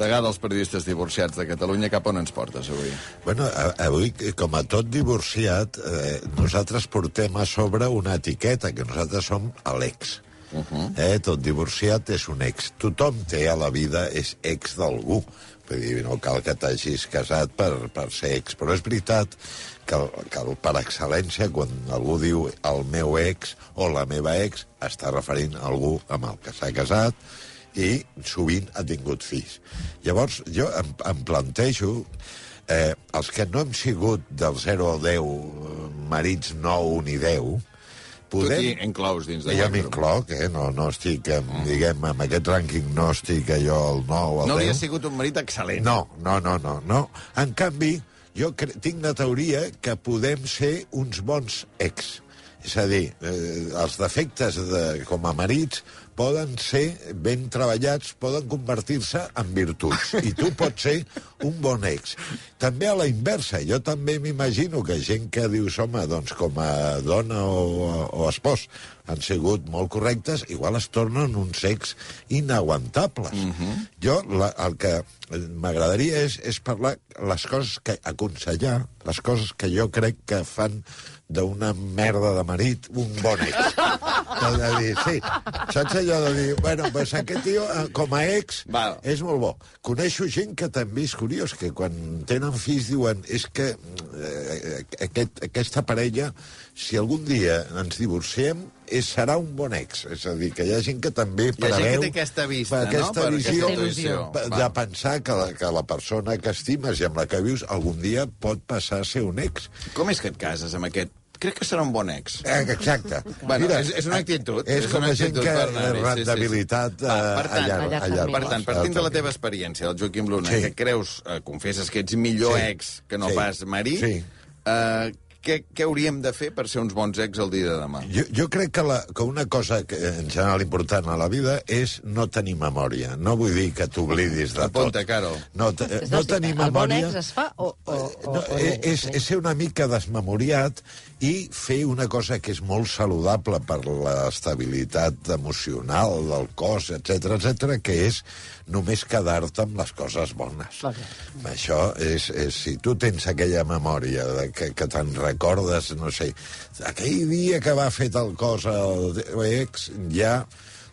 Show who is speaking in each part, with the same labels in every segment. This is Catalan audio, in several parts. Speaker 1: degà dels periodistes divorciats de Catalunya, cap on ens portes avui?
Speaker 2: Bueno, a- avui, com a tot divorciat, eh, nosaltres portem a sobre una etiqueta, que nosaltres som l'ex. Uh -huh. eh, tot divorciat és un ex. Tothom té a la vida és ex d'algú. Vull dir, no cal que t'hagis casat per, per ser ex. Però és veritat que, el- que el, per excel·lència, quan algú diu el meu ex o la meva ex, està referint a algú amb el que s'ha casat i sovint ha tingut fills. Llavors, jo em, em plantejo eh, els que no hem sigut del 0 al 10, eh, marits 9 ni 10,
Speaker 1: Podem...
Speaker 2: podem...
Speaker 1: Tu t'hi enclaus dins
Speaker 2: Ja
Speaker 1: d'aquest grup.
Speaker 2: m'incloc, eh? No, no estic, en, diguem, amb aquest rànquing no estic allò al 9, al
Speaker 1: No
Speaker 2: 10.
Speaker 1: hauria sigut un marit excel·lent.
Speaker 2: No, no, no, no, no. En canvi, jo cre- tinc la teoria que podem ser uns bons ex. És a dir, eh, els defectes de, com a marits poden ser ben treballats, poden convertir-se en virtuts. I tu pots ser un bon ex. També a la inversa, jo també m'imagino que gent que dius, home, doncs com a dona o, o espòs han sigut molt correctes, igual es tornen uns ex inaguantables. Mm -hmm. Jo la, el que m'agradaria és, és parlar les coses que aconsellar, les coses que jo crec que fan d'una merda de marit un bon ex. T'has de dir, sí, saps allò de dir, bueno, pues aquest tio, eh, com a ex,
Speaker 1: Val.
Speaker 2: és molt bo. Coneixo gent que també és curiós, que quan tenen fills diuen és que eh, aquest, aquesta parella, si algun dia ens divorciem, és, serà un bon ex. És a dir, que hi ha gent que també
Speaker 1: Hi ha
Speaker 2: preveu...
Speaker 1: gent que té aquesta vista,
Speaker 2: fa aquesta
Speaker 1: no? Per
Speaker 2: Visió,
Speaker 1: aquesta intuïció.
Speaker 2: pa-
Speaker 1: Val.
Speaker 2: de pensar que la, que la persona que estimes i amb la que vius algun dia pot passar a ser un ex.
Speaker 1: Com és que et cases amb aquest? Crec que serà un bon ex.
Speaker 2: Eh, Exacte.
Speaker 1: Bueno, és- és una actitud,
Speaker 2: És,
Speaker 1: és
Speaker 2: com
Speaker 1: una
Speaker 2: la gent
Speaker 1: actitud,
Speaker 2: que
Speaker 1: Bernat, sí, sí, sí.
Speaker 2: rentabilitat eh, sí, sí.
Speaker 1: Va, per tant,
Speaker 2: a llarg.
Speaker 1: a
Speaker 2: a
Speaker 3: llarg
Speaker 2: llarg
Speaker 1: Per tant,
Speaker 2: termini.
Speaker 1: partint de la teva experiència, el Joaquim Luna,
Speaker 2: Sí.
Speaker 1: sí. que creus, eh, confesses que ets millor
Speaker 2: Sí.
Speaker 1: sí. ex que no
Speaker 2: Sí.
Speaker 1: sí. pas marit,
Speaker 2: Sí.
Speaker 1: eh, què, què hauríem de fer per ser uns bons ex el dia de demà?
Speaker 2: Jo, jo crec que, la, que una cosa que, en general important a la vida és no tenir memòria. No vull dir que t'oblidis de tot.
Speaker 1: Apunta, Carol.
Speaker 2: No, te,
Speaker 3: És
Speaker 2: no
Speaker 3: la cita.
Speaker 2: tenir
Speaker 3: El bon
Speaker 2: memòria...
Speaker 3: ex es fa o... o, o
Speaker 2: no, eh, és, és ser una mica desmemoriat i fer una cosa que és molt saludable per l'estabilitat emocional del cos, etc etc, que és només quedar-te amb les coses bones.
Speaker 3: Clar.
Speaker 2: Això és, és... Si tu tens aquella memòria de que, que te'n recordes, no sé, aquell dia que va fer tal cosa el teu ex, ja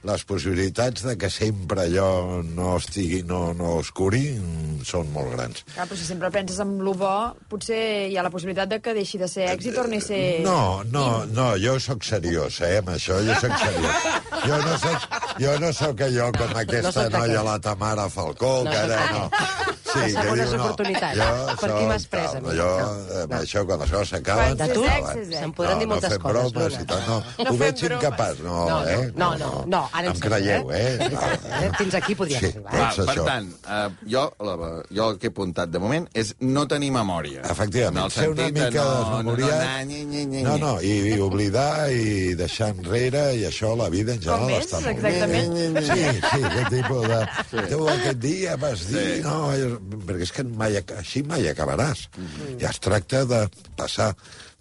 Speaker 2: les possibilitats de que sempre allò no estigui, no, no oscuri, mm, són molt grans.
Speaker 4: Clar, però si sempre penses en lo bo, potser hi ha la possibilitat de que deixi de ser ex i torni a ser...
Speaker 2: Eh, No, no, no, jo sóc seriós, eh, amb això, jo sóc seriós. Jo no sóc, jo no sóc allò com aquesta
Speaker 3: sóc
Speaker 2: no noia,
Speaker 3: d'aquest.
Speaker 2: la Tamara Falcó,
Speaker 3: No
Speaker 2: que ara
Speaker 3: sóc
Speaker 2: no.
Speaker 3: Les segones oportunitats.
Speaker 2: jo
Speaker 3: Per qui
Speaker 2: sóc
Speaker 3: m'has pres,
Speaker 2: tal,
Speaker 3: amic?
Speaker 2: Jo, eh,
Speaker 3: No,
Speaker 2: amb
Speaker 3: no.
Speaker 2: això, quan les coses s'acaben,
Speaker 4: Quan
Speaker 3: tu?
Speaker 2: s'acaben.
Speaker 4: Sexes, eh?
Speaker 3: Se'n podran dir moltes
Speaker 2: no
Speaker 3: coses,
Speaker 2: fem bromes
Speaker 3: Luna.
Speaker 2: i tal, no.
Speaker 4: No
Speaker 2: Ho
Speaker 4: fem
Speaker 2: veig
Speaker 4: bromes.
Speaker 2: incapaç, no,
Speaker 3: No,
Speaker 2: eh?
Speaker 3: no, no, no, ara
Speaker 2: em
Speaker 3: ens
Speaker 2: creieu, eh?
Speaker 3: eh? Fins aquí podríem
Speaker 2: Sí,
Speaker 3: arribar.
Speaker 2: però-
Speaker 1: Va,
Speaker 2: Doncs
Speaker 1: per
Speaker 2: això.
Speaker 1: tant, eh, jo, la, jo el que he apuntat de moment és no tenir memòria.
Speaker 2: Efectivament,
Speaker 1: En el
Speaker 2: ser una
Speaker 1: sentit de
Speaker 2: mica
Speaker 1: no,
Speaker 2: desmemoriat.
Speaker 1: No, no, nyi, nyi, nyi,
Speaker 2: No, no, i, i oblidar i deixar enrere, i això la vida en general
Speaker 4: ets,
Speaker 2: està molt
Speaker 4: exactament.
Speaker 2: bé. Sí, sí, aquest tipus de... Sí. Tu aquest dia vas dir... Sí. No, eh, perquè és que mai, ac- així mai acabaràs.
Speaker 1: Mm-hmm.
Speaker 2: I es tracta de passar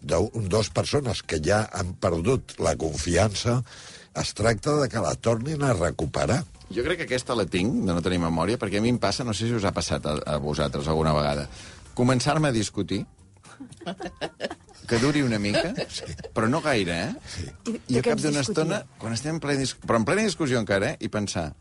Speaker 2: de dos persones que ja han perdut la confiança, es tracta de que la tornin a recuperar.
Speaker 1: Jo crec que aquesta la tinc, de no tenir memòria, perquè a mi em passa, no sé si us ha passat a, a vosaltres alguna vegada, començar-me a discutir, que duri una mica, però no gaire, eh?
Speaker 4: I-
Speaker 1: I
Speaker 4: de
Speaker 1: a
Speaker 4: què
Speaker 1: cap
Speaker 4: ens
Speaker 1: d'una
Speaker 4: discutiu?
Speaker 1: estona, quan estem en plena, dis- però en plena discussió encara, eh? i pensar,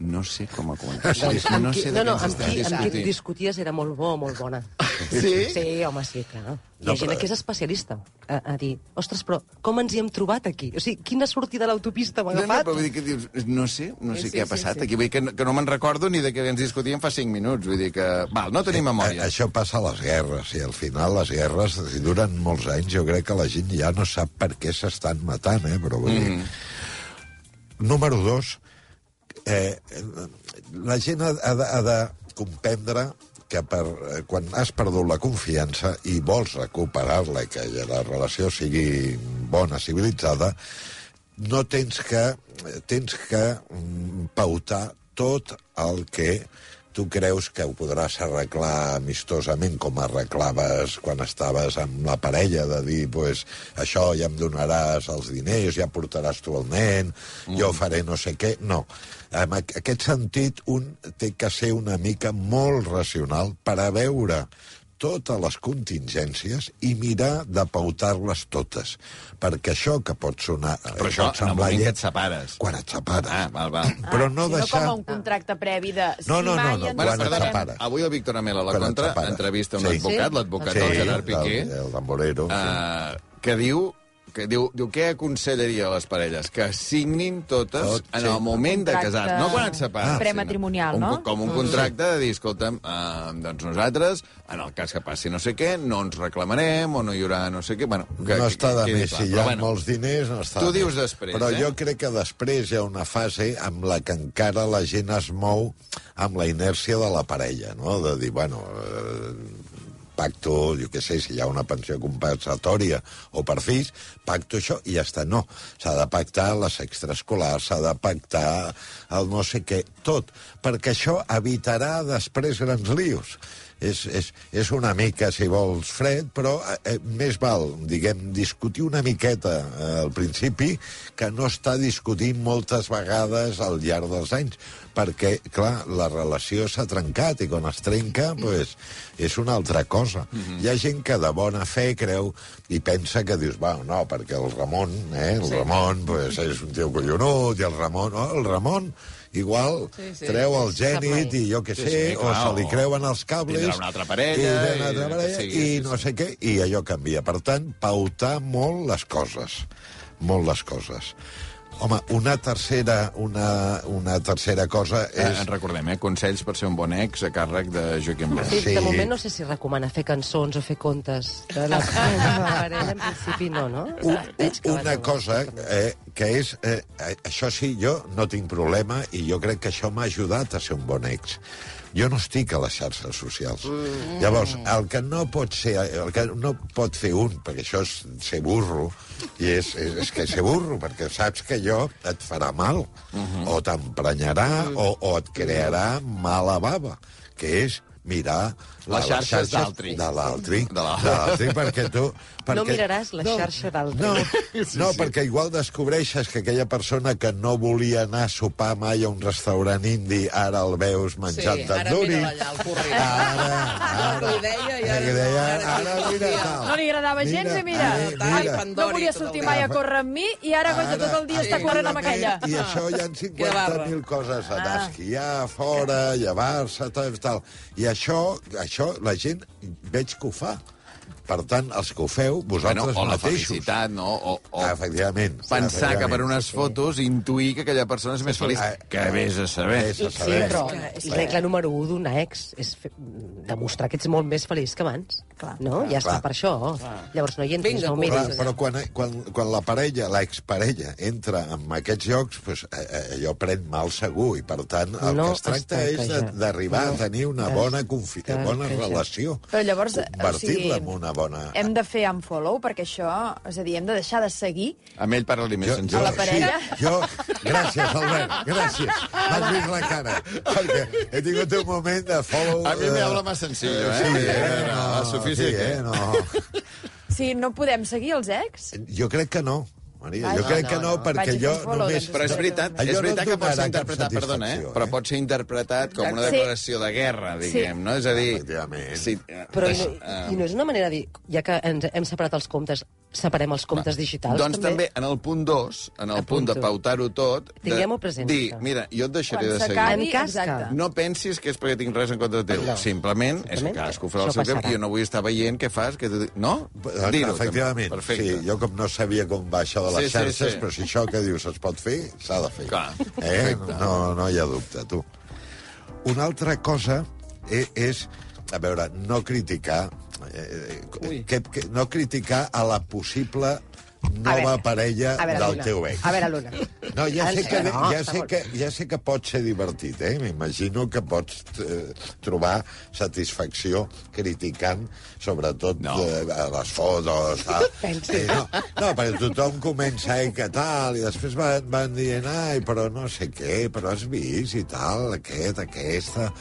Speaker 1: no sé com a començar, no sé de
Speaker 3: no,
Speaker 1: què
Speaker 3: no,
Speaker 1: ens
Speaker 3: amb
Speaker 1: estem
Speaker 3: qui, amb qui
Speaker 1: discutint.
Speaker 3: discuties era molt bo o molt bona.
Speaker 1: Sí?
Speaker 3: Sí, home, sí, clar. Hi
Speaker 2: No,
Speaker 3: ha gent
Speaker 2: però-
Speaker 3: que és especialista a, a dir, ostres, però com ens hi hem trobat aquí? O sigui, quina sortida de l'autopista m'ha
Speaker 1: No, no,
Speaker 3: agafat?
Speaker 1: però vull dir que dius, no sé, no sé sí,
Speaker 4: Sí,
Speaker 1: què ha
Speaker 4: sí,
Speaker 1: passat
Speaker 4: sí.
Speaker 1: aquí. Vull dir que no, que no me'n recordo ni de què ens discutíem fa 5 minuts. Vull dir que... Val, no tenim
Speaker 2: A-
Speaker 1: memòria.
Speaker 2: Eh, Això passa a les guerres, i al final les guerres si duren molts anys. Jo crec que la gent ja no sap per què s'estan matant, eh? però vull
Speaker 1: Mm-hmm.
Speaker 2: dir... Número dos, eh, la gent ha, ha, de, ha de comprendre que per, eh, quan has perdut la confiança i vols recuperar-la i que la relació sigui bona, civilitzada, no tens que, tens que mm, pautar tot el que tu creus que ho podràs arreglar amistosament, com arreglaves quan estaves amb la parella, de dir, pues, això ja em donaràs els diners, ja portaràs tu el nen, mm. jo faré no sé què... No. En aqu- aquest sentit, un té que ser una mica molt racional per a veure totes les contingències i mirar de pautar-les totes. Perquè això que pot sonar...
Speaker 1: Però
Speaker 2: pot
Speaker 1: això, en el
Speaker 2: semblar
Speaker 1: moment que
Speaker 2: llet-
Speaker 1: et separes.
Speaker 2: Quan et separes.
Speaker 1: Ah, val, val.
Speaker 2: Però no
Speaker 4: si
Speaker 2: deixar...
Speaker 4: No com a un contracte previ de... Si
Speaker 2: No, no, no,
Speaker 4: mai
Speaker 2: no,
Speaker 4: ens
Speaker 2: quan et
Speaker 4: separem-
Speaker 2: separes.
Speaker 1: Avui el Víctor Amel a la
Speaker 2: Quan et
Speaker 1: Contra
Speaker 2: separes.
Speaker 1: entrevista un
Speaker 2: Sí.
Speaker 1: advocat,
Speaker 3: Sí?
Speaker 1: l'advocat del Gerard Piqué,
Speaker 2: El, el Amorero. Uh,
Speaker 1: eh, que diu que diu, diu què aconsellaria a les parelles? Que signin totes
Speaker 2: Tot,
Speaker 1: en
Speaker 2: sí.
Speaker 1: el moment de
Speaker 4: Contracte
Speaker 1: casar no quan et separes.
Speaker 4: Ah.
Speaker 1: sinó
Speaker 4: prematrimonial,
Speaker 1: un,
Speaker 4: no? Mm.
Speaker 1: Com un contracte de dir, escolta'm, eh, doncs nosaltres, en el cas que passi no sé què, no ens reclamarem o no hi haurà no sé què... Bueno, que,
Speaker 2: no està de
Speaker 1: que quedi
Speaker 2: més.
Speaker 1: clar.
Speaker 2: Si hi
Speaker 1: Però
Speaker 2: ha bueno, molts diners, no està
Speaker 1: tu
Speaker 2: de més.
Speaker 1: dius després,
Speaker 2: Però
Speaker 1: eh?
Speaker 2: jo crec que després hi ha una fase amb la que encara la gent es mou amb la inèrcia de la parella, no? De dir, bueno, eh, pacto, jo què sé, si hi ha una pensió compensatòria o per fills, pacto això i ja està. No, s'ha de pactar les extraescolars, s'ha de pactar el no sé què, tot, perquè això evitarà després grans lios. És, és, és una mica, si vols, fred, però eh, eh, més val, diguem, discutir una miqueta eh, al principi que no estar discutint moltes vegades al llarg dels anys, perquè, clar, la relació s'ha trencat i quan es trenca,
Speaker 1: Mm.
Speaker 2: pues, és una altra cosa. Mm
Speaker 1: Mm-hmm.
Speaker 2: -hmm. Hi ha gent que de bona fe creu i pensa que dius, va, no, perquè el Ramon, eh, el sí. Ramon, pues, és un tio collonut, i el Ramon, oh, el Ramon, igual sí, sí, treu el gènit i jo que
Speaker 1: Sí,
Speaker 2: sé,
Speaker 1: sí,
Speaker 2: o
Speaker 1: clar,
Speaker 2: se li
Speaker 1: o
Speaker 2: creuen els
Speaker 1: tindrà
Speaker 2: cables...
Speaker 1: una altra parella,
Speaker 2: I, una
Speaker 1: i
Speaker 2: altra
Speaker 1: el que
Speaker 2: parella,
Speaker 1: sigui,
Speaker 2: i
Speaker 1: sí,
Speaker 2: no
Speaker 1: sí.
Speaker 2: sé què, i allò canvia. Per tant, pautar molt les coses. Molt les coses. Home, una tercera, una, una tercera cosa
Speaker 1: Eh,
Speaker 2: és...
Speaker 1: en recordem, eh? Consells per ser un bon ex a càrrec de Joaquim Blas.
Speaker 3: Sí,
Speaker 2: Sí.
Speaker 3: sí. De moment no sé si recomana fer cançons o fer contes de la meva parella. En principi no, no?
Speaker 2: un,
Speaker 3: Veig que
Speaker 2: una
Speaker 3: va-
Speaker 2: cosa eh, que és... Eh, eh, això sí, jo no tinc problema i jo crec que això m'ha ajudat a ser un bon ex. Jo no estic a les xarxes socials. Mm. Llavors, el que no pot ser... El que no pot fer un, perquè això és ser burro, i és, és, és que ser burro, perquè saps que allò et farà mal, mm
Speaker 1: Mm-hmm.
Speaker 2: -hmm. o t'emprenyarà, mm. o, o et crearà mala bava, que és mirar
Speaker 1: Les
Speaker 2: a
Speaker 1: xarxes d'altri.
Speaker 2: De l'altri.
Speaker 1: De la-
Speaker 2: de l'altri, perquè tu... Perquè...
Speaker 3: No miraràs la xarxa d'altre.
Speaker 2: No, no perquè igual descobreixes que aquella persona que no volia anar a sopar mai a un restaurant indi, ara el veus menjant
Speaker 5: Sí, ara
Speaker 2: tandoori.
Speaker 5: mira allà, el curri.
Speaker 2: Ara,
Speaker 5: No, li deia i
Speaker 2: Ara,
Speaker 5: ara
Speaker 2: que deia,
Speaker 5: no, ara
Speaker 2: ara,
Speaker 5: sí.
Speaker 2: mira tal.
Speaker 4: No li agradava gens i mira.
Speaker 2: eh,
Speaker 5: Ai,
Speaker 2: mira.
Speaker 5: fan-
Speaker 4: No volia
Speaker 5: Tot el
Speaker 4: sortir
Speaker 5: dia.
Speaker 4: mai a córrer amb mi i ara, ara
Speaker 2: Ara,
Speaker 4: tot el dia
Speaker 5: sí.
Speaker 4: està corrent amb aquella.
Speaker 2: I això hi ha
Speaker 5: Que barba.
Speaker 2: 50.000 coses
Speaker 5: Ah.
Speaker 2: a anar a esquiar, fora, llevar-se, tal, tal. I això, això la gent veig que ho fa. Per tant, els que ho feu,
Speaker 1: Bueno,
Speaker 2: vosaltres
Speaker 1: o la
Speaker 2: mateixos. Ah,
Speaker 1: felicitat, no? O, o
Speaker 2: Efectivament.
Speaker 1: pensar que per
Speaker 2: efectivament.
Speaker 1: unes fotos intuir que aquella persona és més feliç.
Speaker 2: Ah,
Speaker 1: Que vés a saber.
Speaker 2: Vés a
Speaker 3: Sí,
Speaker 2: saber.
Speaker 3: però
Speaker 5: És que- és
Speaker 3: la regla número 1 d'una ex és fer, demostrar que ets molt més feliç que abans. Clar, no? Ja està
Speaker 2: clar.
Speaker 3: per això. Llavors no hi entris,
Speaker 5: Vinga,
Speaker 3: no ho
Speaker 2: Clar,
Speaker 3: miris.
Speaker 2: però quan, quan, quan la parella, l'exparella, entra en aquests llocs, doncs, eh, eh, allò pren mal segur, i per tant el
Speaker 3: No
Speaker 2: que es tracta
Speaker 3: es
Speaker 2: és
Speaker 3: tracta
Speaker 2: de-
Speaker 3: ja.
Speaker 2: d'arribar
Speaker 3: No
Speaker 2: a tenir una
Speaker 3: es
Speaker 2: bona, confi
Speaker 3: tracta
Speaker 2: bona
Speaker 3: ja.
Speaker 2: relació.
Speaker 4: Però llavors, o sigui,
Speaker 2: Convertir-la en una bona...
Speaker 4: Hem de fer unfollow, perquè això... És a dir, hem de deixar de seguir
Speaker 1: Amb ell parla-li més senzill.
Speaker 4: A la parella.
Speaker 2: Sí, jo... Gràcies, Albert, gràcies. M'has vist la cara. Perquè he tingut un moment de follow...
Speaker 1: A mi me
Speaker 2: eh,
Speaker 1: habla más sencillo, eh?
Speaker 2: Sí, eh?
Speaker 1: No,
Speaker 2: No,
Speaker 1: suficient,
Speaker 2: sí, eh?
Speaker 1: eh?
Speaker 2: No.
Speaker 4: Sí, no podem seguir els ex?
Speaker 2: Jo crec que no, Maria.
Speaker 4: Ai,
Speaker 2: Jo
Speaker 4: Ah, no,
Speaker 2: crec que
Speaker 5: no,
Speaker 2: no,
Speaker 5: no.
Speaker 2: perquè
Speaker 4: Vaig a
Speaker 2: jo
Speaker 4: fer un follow,
Speaker 2: només...
Speaker 1: Però és veritat,
Speaker 2: Allò
Speaker 1: és
Speaker 2: no
Speaker 1: veritat que pot
Speaker 2: donarà
Speaker 1: ser
Speaker 2: cap
Speaker 1: interpretat, perdona, eh?
Speaker 2: satisfacció,
Speaker 1: Però
Speaker 2: eh?
Speaker 1: pot ser interpretat com una
Speaker 4: Sí.
Speaker 1: declaració de guerra, diguem,
Speaker 4: Sí.
Speaker 1: no? És a dir...
Speaker 2: Efectivament.
Speaker 1: eh,
Speaker 3: Però i
Speaker 1: des-
Speaker 3: no,
Speaker 2: Doncs,
Speaker 3: i no és una manera de dir, ja que ens hem separat els comptes, separem els comptes digitals,
Speaker 1: doncs també, en el punt 2, en el punt de
Speaker 3: Apunto.
Speaker 1: pautar-ho tot... de
Speaker 3: Tinguem-ho present,
Speaker 1: Dir,
Speaker 3: això.
Speaker 1: mira, jo et deixaré
Speaker 4: Quan
Speaker 1: de seguir.
Speaker 4: s'acabi,
Speaker 3: En cas que-
Speaker 2: Ah,
Speaker 4: exacte.
Speaker 1: No pensis que és perquè tinc res en contra teu.
Speaker 3: No.
Speaker 1: Simplement, és que
Speaker 3: Simplement,
Speaker 1: cadascú farà el
Speaker 3: això
Speaker 1: seu temps
Speaker 3: passarà.
Speaker 1: i jo no vull estar veient què fas. Que... tu- No? Dir-ho. també.
Speaker 2: Ah, Efectivament.
Speaker 1: Perfecte.
Speaker 2: Sí, jo com no sabia com va això de les
Speaker 1: Sí, sí,
Speaker 2: xarxes,
Speaker 1: sí.
Speaker 2: però si això que dius es pot fer, s'ha de fer.
Speaker 1: Clar,
Speaker 2: eh?
Speaker 1: perfecte.
Speaker 2: No, no hi ha dubte, tu. Una altra cosa és, és a veure, eh, no criticar... Eh, que, que, no criticar a la possible nova parella
Speaker 5: a veure,
Speaker 2: del
Speaker 5: Luna,
Speaker 2: teu ex.
Speaker 5: a veure, Luna.
Speaker 2: Ah, No, ja
Speaker 5: En
Speaker 2: sé, que,
Speaker 5: sèrio, no,
Speaker 2: ja, sé
Speaker 5: segon.
Speaker 2: que, ja sé que pot ser divertit, eh? M'imagino que pots eh, trobar satisfacció criticant, sobretot no. eh, a les fotos... A... Eh, no, no, perquè tothom comença, eh, què tal, i després van, van dient, ai, però no sé què, però has vist i tal, aquest, aquesta...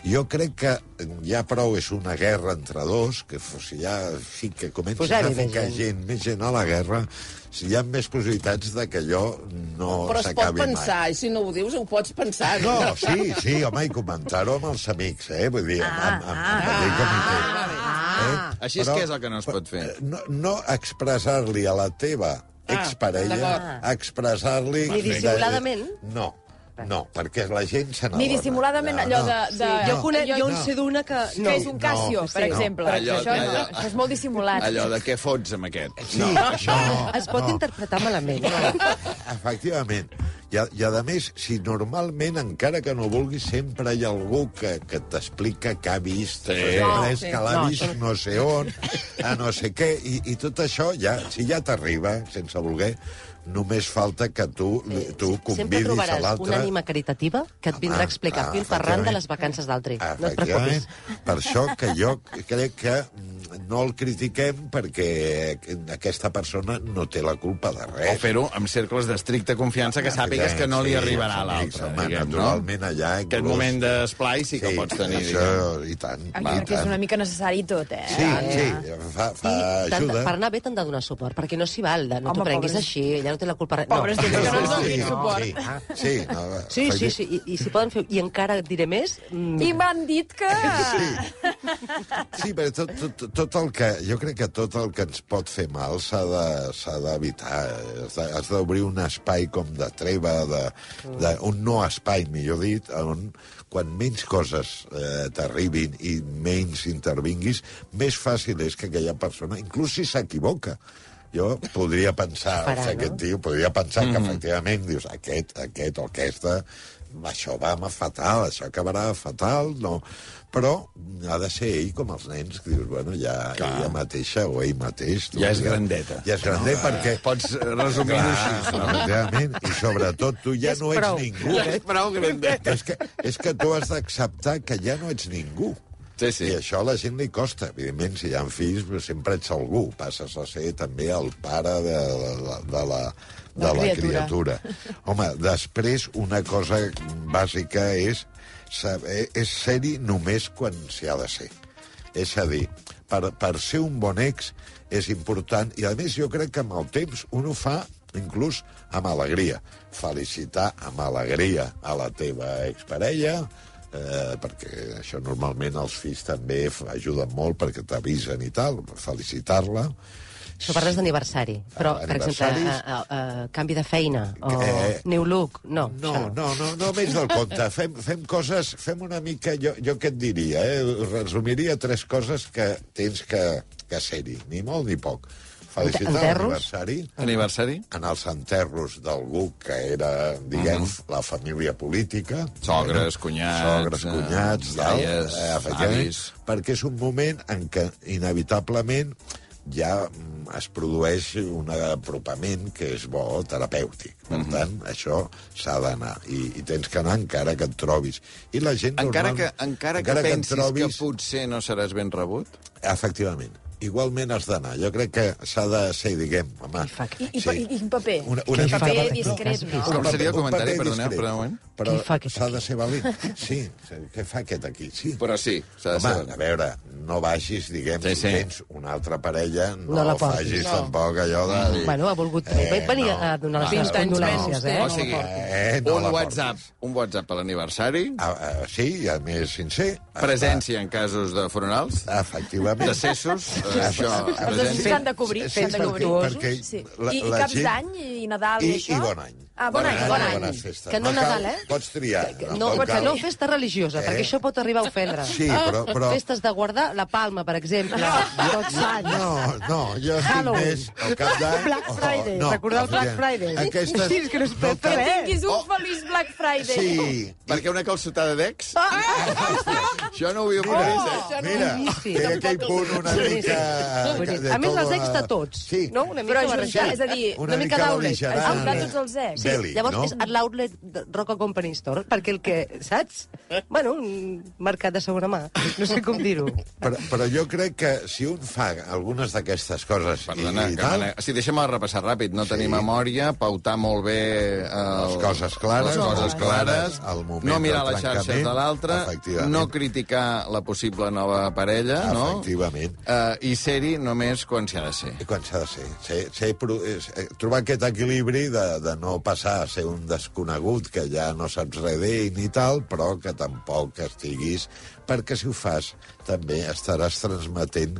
Speaker 2: Jo crec que ja prou és una guerra entre dos, que fos- si ja sí que comences a
Speaker 5: Posar-hi més
Speaker 2: ficar
Speaker 5: gent.
Speaker 2: gent, més gent a la guerra, si hi ha més possibilitats de que allò no
Speaker 6: Però es pot
Speaker 2: s'acabi mai.
Speaker 6: pensar, i si no ho dius, ho pots pensar.
Speaker 2: No, sí, sí, home, i comentar-ho amb els amics, eh? Vull dir, amb, amb, amb, amb, amb, Eh?
Speaker 1: Ah, Així és
Speaker 2: però- eh,
Speaker 1: que és el que no es pot fer.
Speaker 2: no, no expressar-li a la teva exparella, Ah.
Speaker 6: d'acord.
Speaker 2: expressar-li...
Speaker 3: Ni dissimuladament?
Speaker 2: No, no, perquè la gent se n'adona.
Speaker 4: Ni dissimuladament allò de... de...
Speaker 2: Sí,
Speaker 3: Jo,
Speaker 2: No.
Speaker 3: conec, jo en
Speaker 2: No.
Speaker 3: sé d'una que...
Speaker 4: No, que és un Casio,
Speaker 3: sí,
Speaker 4: per
Speaker 3: no.
Speaker 4: exemple.
Speaker 1: Allò-
Speaker 4: això, no,
Speaker 1: allò-
Speaker 4: això és molt dissimulat.
Speaker 1: Allò de què fots amb aquest.
Speaker 2: Sí, no, això no.
Speaker 3: Es pot interpretar malament.
Speaker 2: Efectivament. I a, I, a més, si normalment, encara que no vulguis, sempre hi ha algú que, que t'explica que ha vist, sí.
Speaker 6: No,
Speaker 2: res,
Speaker 6: sí.
Speaker 2: que l'ha vist no sé on, a no sé què, i, i tot això, ja, si ja t'arriba, sense voler, només falta que tu, tu
Speaker 3: Sempre
Speaker 2: convidis a
Speaker 3: trobaràs
Speaker 2: l'altre...
Speaker 3: una ànima caritativa que et vindrà a explicar
Speaker 2: ah,
Speaker 3: fil per randa
Speaker 2: efectivament.
Speaker 3: les vacances d'altri. No et preocupis.
Speaker 2: Efectivament. Per això que jo crec que mm, no el critiquem perquè aquesta persona no té la culpa de
Speaker 1: O
Speaker 2: res.
Speaker 1: fer-ho amb cercles d'estricta confiança que sàpigues que no li
Speaker 2: Eh. Ah, Sí,
Speaker 1: arribarà a
Speaker 2: els amics,
Speaker 1: l'altre.
Speaker 2: home,
Speaker 1: diguem, no?
Speaker 2: Naturalment, allà... inclús-
Speaker 1: Aquest moment d'esplai sí que pots tenir.
Speaker 2: Això,
Speaker 1: diguem.
Speaker 2: i tant.
Speaker 4: Encara
Speaker 2: i
Speaker 4: que és
Speaker 2: tant.
Speaker 4: una mica necessari tot, eh?
Speaker 2: Sí, sí, fa, fa
Speaker 3: I t'han de-
Speaker 2: ajuda.
Speaker 3: per anar bé t'han de donar suport, perquè no s'hi val, de, no t'ho
Speaker 4: Home,
Speaker 3: prenguis
Speaker 4: pobres.
Speaker 3: així, ella no té la culpa... No.
Speaker 4: Pobres d'ells que no ens donin suport.
Speaker 2: Sí, sí, no,
Speaker 3: Sí, sí, sí, i, i si poden fer... I encara et diré més... Mm,
Speaker 4: I m'han dit que...
Speaker 2: Sí, però tot, tot, tot el que... Jo crec que tot el que ens pot fer mal s'ha de- s'ha d'evitar. Has de- Has d'obrir un espai com de treva, de, de, un no espai, millor dit, on quan menys coses eh, t'arribin i menys intervinguis, més fàcil és que aquella persona, inclús si s'equivoca, jo podria pensar,
Speaker 3: Farà,
Speaker 2: Farà,
Speaker 3: no?
Speaker 2: aquest tio, podria pensar
Speaker 1: Mm-hmm.
Speaker 2: mm -hmm. que efectivament dius aquest, aquest o aquesta, això va ma fatal, això acabarà fatal, no. Però ha de ser ell com els nens, que dius, bueno, ja ella mateixa o ell mateix... tu,
Speaker 1: Ja és grandeta.
Speaker 2: Ja és grandet no, perquè...
Speaker 1: Pots resumir-ho així.
Speaker 2: no? Efectivament, i sobretot tu ja no ets ningú.
Speaker 1: Ja és prou grandeta.
Speaker 2: És que, és que tu has d'acceptar que ja no ets ningú.
Speaker 1: Sí, sí.
Speaker 2: I això a la gent li costa. Evidentment, si hi ha fills, però sempre ets algú. Passes a ser també el pare de, de, de, de la, de la,
Speaker 4: La
Speaker 2: criatura.
Speaker 4: criatura.
Speaker 2: Home, després una cosa bàsica és, saber, és ser-hi només quan s'hi ha de ser. És a dir, per, per ser un bon ex és important, i a més jo crec que amb el temps un ho fa inclús amb alegria. Felicitar amb alegria a la teva exparella, eh, perquè això normalment els fills també f- ajuden molt perquè t'avisen i tal, felicitar-la.
Speaker 3: Això parles d'aniversari, però, per exemple,
Speaker 2: Ah,
Speaker 3: a,
Speaker 2: Aniversaris.
Speaker 3: a, a, canvi de feina o
Speaker 2: Eh,
Speaker 3: new look, no.
Speaker 2: No,
Speaker 3: això
Speaker 2: no, no, no més del compte. Fem, fem coses, fem una mica... Jo, jo què et diria, eh? Us Resumiria tres coses que tens que, que ser-hi, ni molt ni poc. Felicitar
Speaker 3: Enterros?
Speaker 2: l'aniversari.
Speaker 1: Aniversari?
Speaker 2: en els enterros d'algú que era, diguem, la família política.
Speaker 1: Sogres, cunyats,
Speaker 2: Sogres,
Speaker 1: eh,
Speaker 2: cunyats, tal,
Speaker 1: iaies,
Speaker 2: eh, efectivament,
Speaker 1: avis.
Speaker 2: perquè és un moment en què, inevitablement, ja mm, es produeix un apropament que és bo terapèutic. Per tant, això s'ha d'anar. I, I tens que anar encara que et trobis. I la gent...
Speaker 1: Encara que,
Speaker 2: normal,
Speaker 1: encara que
Speaker 2: et
Speaker 1: pensis que potser no seràs ben rebut?
Speaker 2: Efectivament. Igualment has d'anar. Jo crec que s'ha de ser, diguem, home...
Speaker 4: I, i, pa- i, i un paper.
Speaker 2: Una, una
Speaker 3: Qui
Speaker 2: mica
Speaker 3: fa-
Speaker 2: valent.
Speaker 4: discret, no?
Speaker 2: Un
Speaker 1: Com
Speaker 2: paper-
Speaker 1: seria el
Speaker 2: un
Speaker 1: comentari?
Speaker 2: paper
Speaker 1: Perdoneu,
Speaker 2: discret.
Speaker 1: perdoneu un moment.
Speaker 2: Però
Speaker 3: Qui fa aquest
Speaker 2: s'ha
Speaker 3: aquí?
Speaker 2: de ser valent. Sí, què fa aquest aquí? Sí.
Speaker 1: Però sí, s'ha de
Speaker 2: Home,
Speaker 1: saber.
Speaker 2: a veure, no baixis, diguem,
Speaker 1: Sí,
Speaker 2: sí,
Speaker 1: sí.
Speaker 2: sí. si tens una altra parella, no,
Speaker 3: No la
Speaker 2: no
Speaker 3: portis.
Speaker 2: facis
Speaker 3: No.
Speaker 2: tampoc allò de... dir,
Speaker 3: Bueno, ha volgut eh, venir
Speaker 2: no.
Speaker 3: a donar les seves
Speaker 6: Vint anys
Speaker 3: condolències,
Speaker 6: menys
Speaker 3: eh?
Speaker 6: té.
Speaker 1: O sigui,
Speaker 2: Eh, no
Speaker 1: un
Speaker 2: la portis.
Speaker 1: WhatsApp, un WhatsApp a l'aniversari,
Speaker 2: Ah, ah, sí, a més sincer.
Speaker 1: presència en casos de funerals,
Speaker 2: Ah, Efectivament.
Speaker 1: decessos,
Speaker 2: Ah,
Speaker 1: eh, això,
Speaker 4: Doncs Els dos
Speaker 1: presència...
Speaker 4: s'han de cobrir,
Speaker 2: Sí,
Speaker 4: s'han de
Speaker 2: perquè-
Speaker 4: cobrir.
Speaker 2: perquè
Speaker 4: sí.
Speaker 2: la-
Speaker 4: I, i
Speaker 2: la
Speaker 4: caps
Speaker 2: gent-
Speaker 4: d'any i Nadal i,
Speaker 2: I,
Speaker 4: això?
Speaker 2: i bon any.
Speaker 4: Ah, bon, any, bon any.
Speaker 2: bones festes.
Speaker 3: Que no
Speaker 2: cal-
Speaker 3: Nadal, eh?
Speaker 2: Pots triar.
Speaker 3: No,
Speaker 2: pot
Speaker 3: que
Speaker 2: cal.
Speaker 3: no festa religiosa,
Speaker 2: Eh?
Speaker 3: eh? perquè això pot arribar a ofendre.
Speaker 2: Sí, però... però...
Speaker 3: Festes de guardar la palma, per exemple.
Speaker 5: Tots sants.
Speaker 2: No, no, jo estic
Speaker 5: Halloween.
Speaker 2: més al cap d'any... Oh,
Speaker 5: Black
Speaker 2: o- o-
Speaker 5: Friday, recordar el Black
Speaker 2: efectivament.
Speaker 5: Friday.
Speaker 2: Aquestes...
Speaker 5: Sí, és que no es pot
Speaker 2: cal-
Speaker 5: fer res.
Speaker 4: Tinguis un feliç Black Friday.
Speaker 2: Oh. Sí, Ah,
Speaker 1: Perquè una calçotada d'ex... Jo no ho havia
Speaker 4: Oh,
Speaker 1: previst, eh?
Speaker 6: Això no
Speaker 2: Mira,
Speaker 3: Boníssim.
Speaker 2: té aquell punt una
Speaker 3: Sí.
Speaker 2: mica...
Speaker 3: Boníssim.
Speaker 2: de
Speaker 3: A més,
Speaker 2: tot
Speaker 3: els ex
Speaker 2: la-
Speaker 3: de tots,
Speaker 2: Sí.
Speaker 3: no? Una mica
Speaker 4: Però ajuntar,
Speaker 3: barrejat.
Speaker 4: és a dir,
Speaker 2: Una
Speaker 3: mica
Speaker 2: mica
Speaker 3: d'outlet.
Speaker 2: beligerant.
Speaker 4: Ajuntar tots els ex.
Speaker 3: Sí,
Speaker 2: Belly,
Speaker 3: llavors
Speaker 2: no?
Speaker 3: és a l'outlet de Roca Company Store, perquè el que, saps? Bueno, un mercat de segona mà. No sé com dir-ho.
Speaker 2: Però, però jo crec que si un fa algunes d'aquestes coses
Speaker 1: Perdona,
Speaker 2: i, i
Speaker 1: que
Speaker 2: tal,
Speaker 1: me n'he- sí, deixa'm repassar ràpid. No
Speaker 2: Sí.
Speaker 1: sí. tenir memòria, pautar molt bé... eh, El,
Speaker 2: Les coses clares,
Speaker 1: les coses
Speaker 2: molt
Speaker 1: clares,
Speaker 2: clares, el moment
Speaker 1: no mirar
Speaker 2: del
Speaker 1: les xarxes
Speaker 2: trencament,
Speaker 1: de l'altre,
Speaker 2: efectivament.
Speaker 1: no criticar la possible nova parella,
Speaker 2: Efectivament.
Speaker 1: no? Uh, I ser-hi només quan s'hi ha de ser.
Speaker 2: I quan s'ha de ser? ser, ser pro- és, eh, trobar aquest equilibri de, de no passar a ser un desconegut que ja no saps res d'ell ni tal, però que tampoc estiguis, perquè si ho fas també estaràs transmetent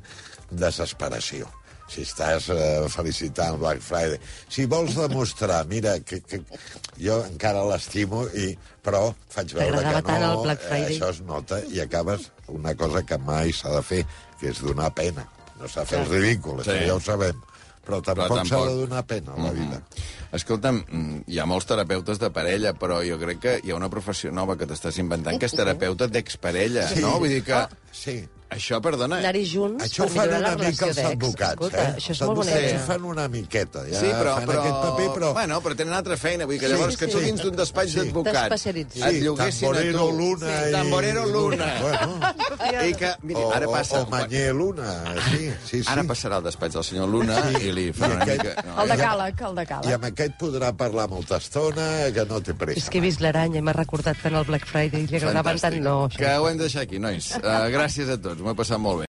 Speaker 2: desesperació. Si estàs eh, felicitant Black Friday... Si vols demostrar, mira, que, que jo encara l'estimo, i però faig veure que
Speaker 3: T'agradava
Speaker 2: no,
Speaker 3: tant el Black
Speaker 2: eh,
Speaker 3: Friday.
Speaker 2: això es nota, i acabes una cosa que mai s'ha de fer, que és donar pena. No s'ha de fer el ridícul, sí.
Speaker 1: Sí.
Speaker 2: ja ho sabem. Però tampoc,
Speaker 1: tampoc.
Speaker 2: s'ha de donar pena a la vida.
Speaker 1: Escolta'm, mm, hi ha molts terapeutes de parella, però jo crec que hi ha una professió nova que t'estàs inventant, que és terapeuta d'exparella,
Speaker 2: Sí. Ah.
Speaker 1: no? Vull dir que...
Speaker 2: Sí.
Speaker 1: Això, perdona... eh?
Speaker 3: Anar-hi junts
Speaker 2: Això ho
Speaker 3: per
Speaker 2: fan
Speaker 3: millorar la
Speaker 2: una mica
Speaker 3: relació
Speaker 2: els
Speaker 3: d'ex.
Speaker 2: advocats,
Speaker 3: Escolta,
Speaker 2: eh?
Speaker 3: això és
Speaker 2: Els
Speaker 3: molt bona
Speaker 2: advocats
Speaker 3: idea.
Speaker 2: ho fan una miqueta, ja
Speaker 1: Sí, però,
Speaker 2: fan
Speaker 1: però...
Speaker 2: aquest paper, però...
Speaker 1: Bueno, però tenen altra feina. Vull dir que
Speaker 2: Sí,
Speaker 1: llavors
Speaker 2: sí,
Speaker 1: que tu
Speaker 2: sí.
Speaker 1: dins d'un despatx
Speaker 2: Sí.
Speaker 1: d'advocat
Speaker 3: T'especialitzis.
Speaker 1: et lloguessin a tu...
Speaker 2: Tamborero Luna
Speaker 1: Sí,
Speaker 2: i...
Speaker 1: Tamborero Luna.
Speaker 2: Bueno,
Speaker 1: I que, mira,
Speaker 2: o,
Speaker 1: ara
Speaker 2: o,
Speaker 1: passa...
Speaker 2: o Manyer Luna, sí, sí, sí.
Speaker 1: Ara passarà al despatx del senyor Luna i li farà una
Speaker 2: aquest-
Speaker 1: mica... No,
Speaker 4: El de Càleg, el de
Speaker 2: I
Speaker 4: Càleg.
Speaker 2: amb aquest podrà parlar molta estona, que no té pressa.
Speaker 3: És que he vist l'aranya i m'ha recordat tant el Black Friday i li agradaven tant.
Speaker 1: fantàstic.
Speaker 3: No, això
Speaker 1: Que ho hem de deixar aquí, nois. Uh, gràcies Eh, a tots, m'ho he passat molt bé.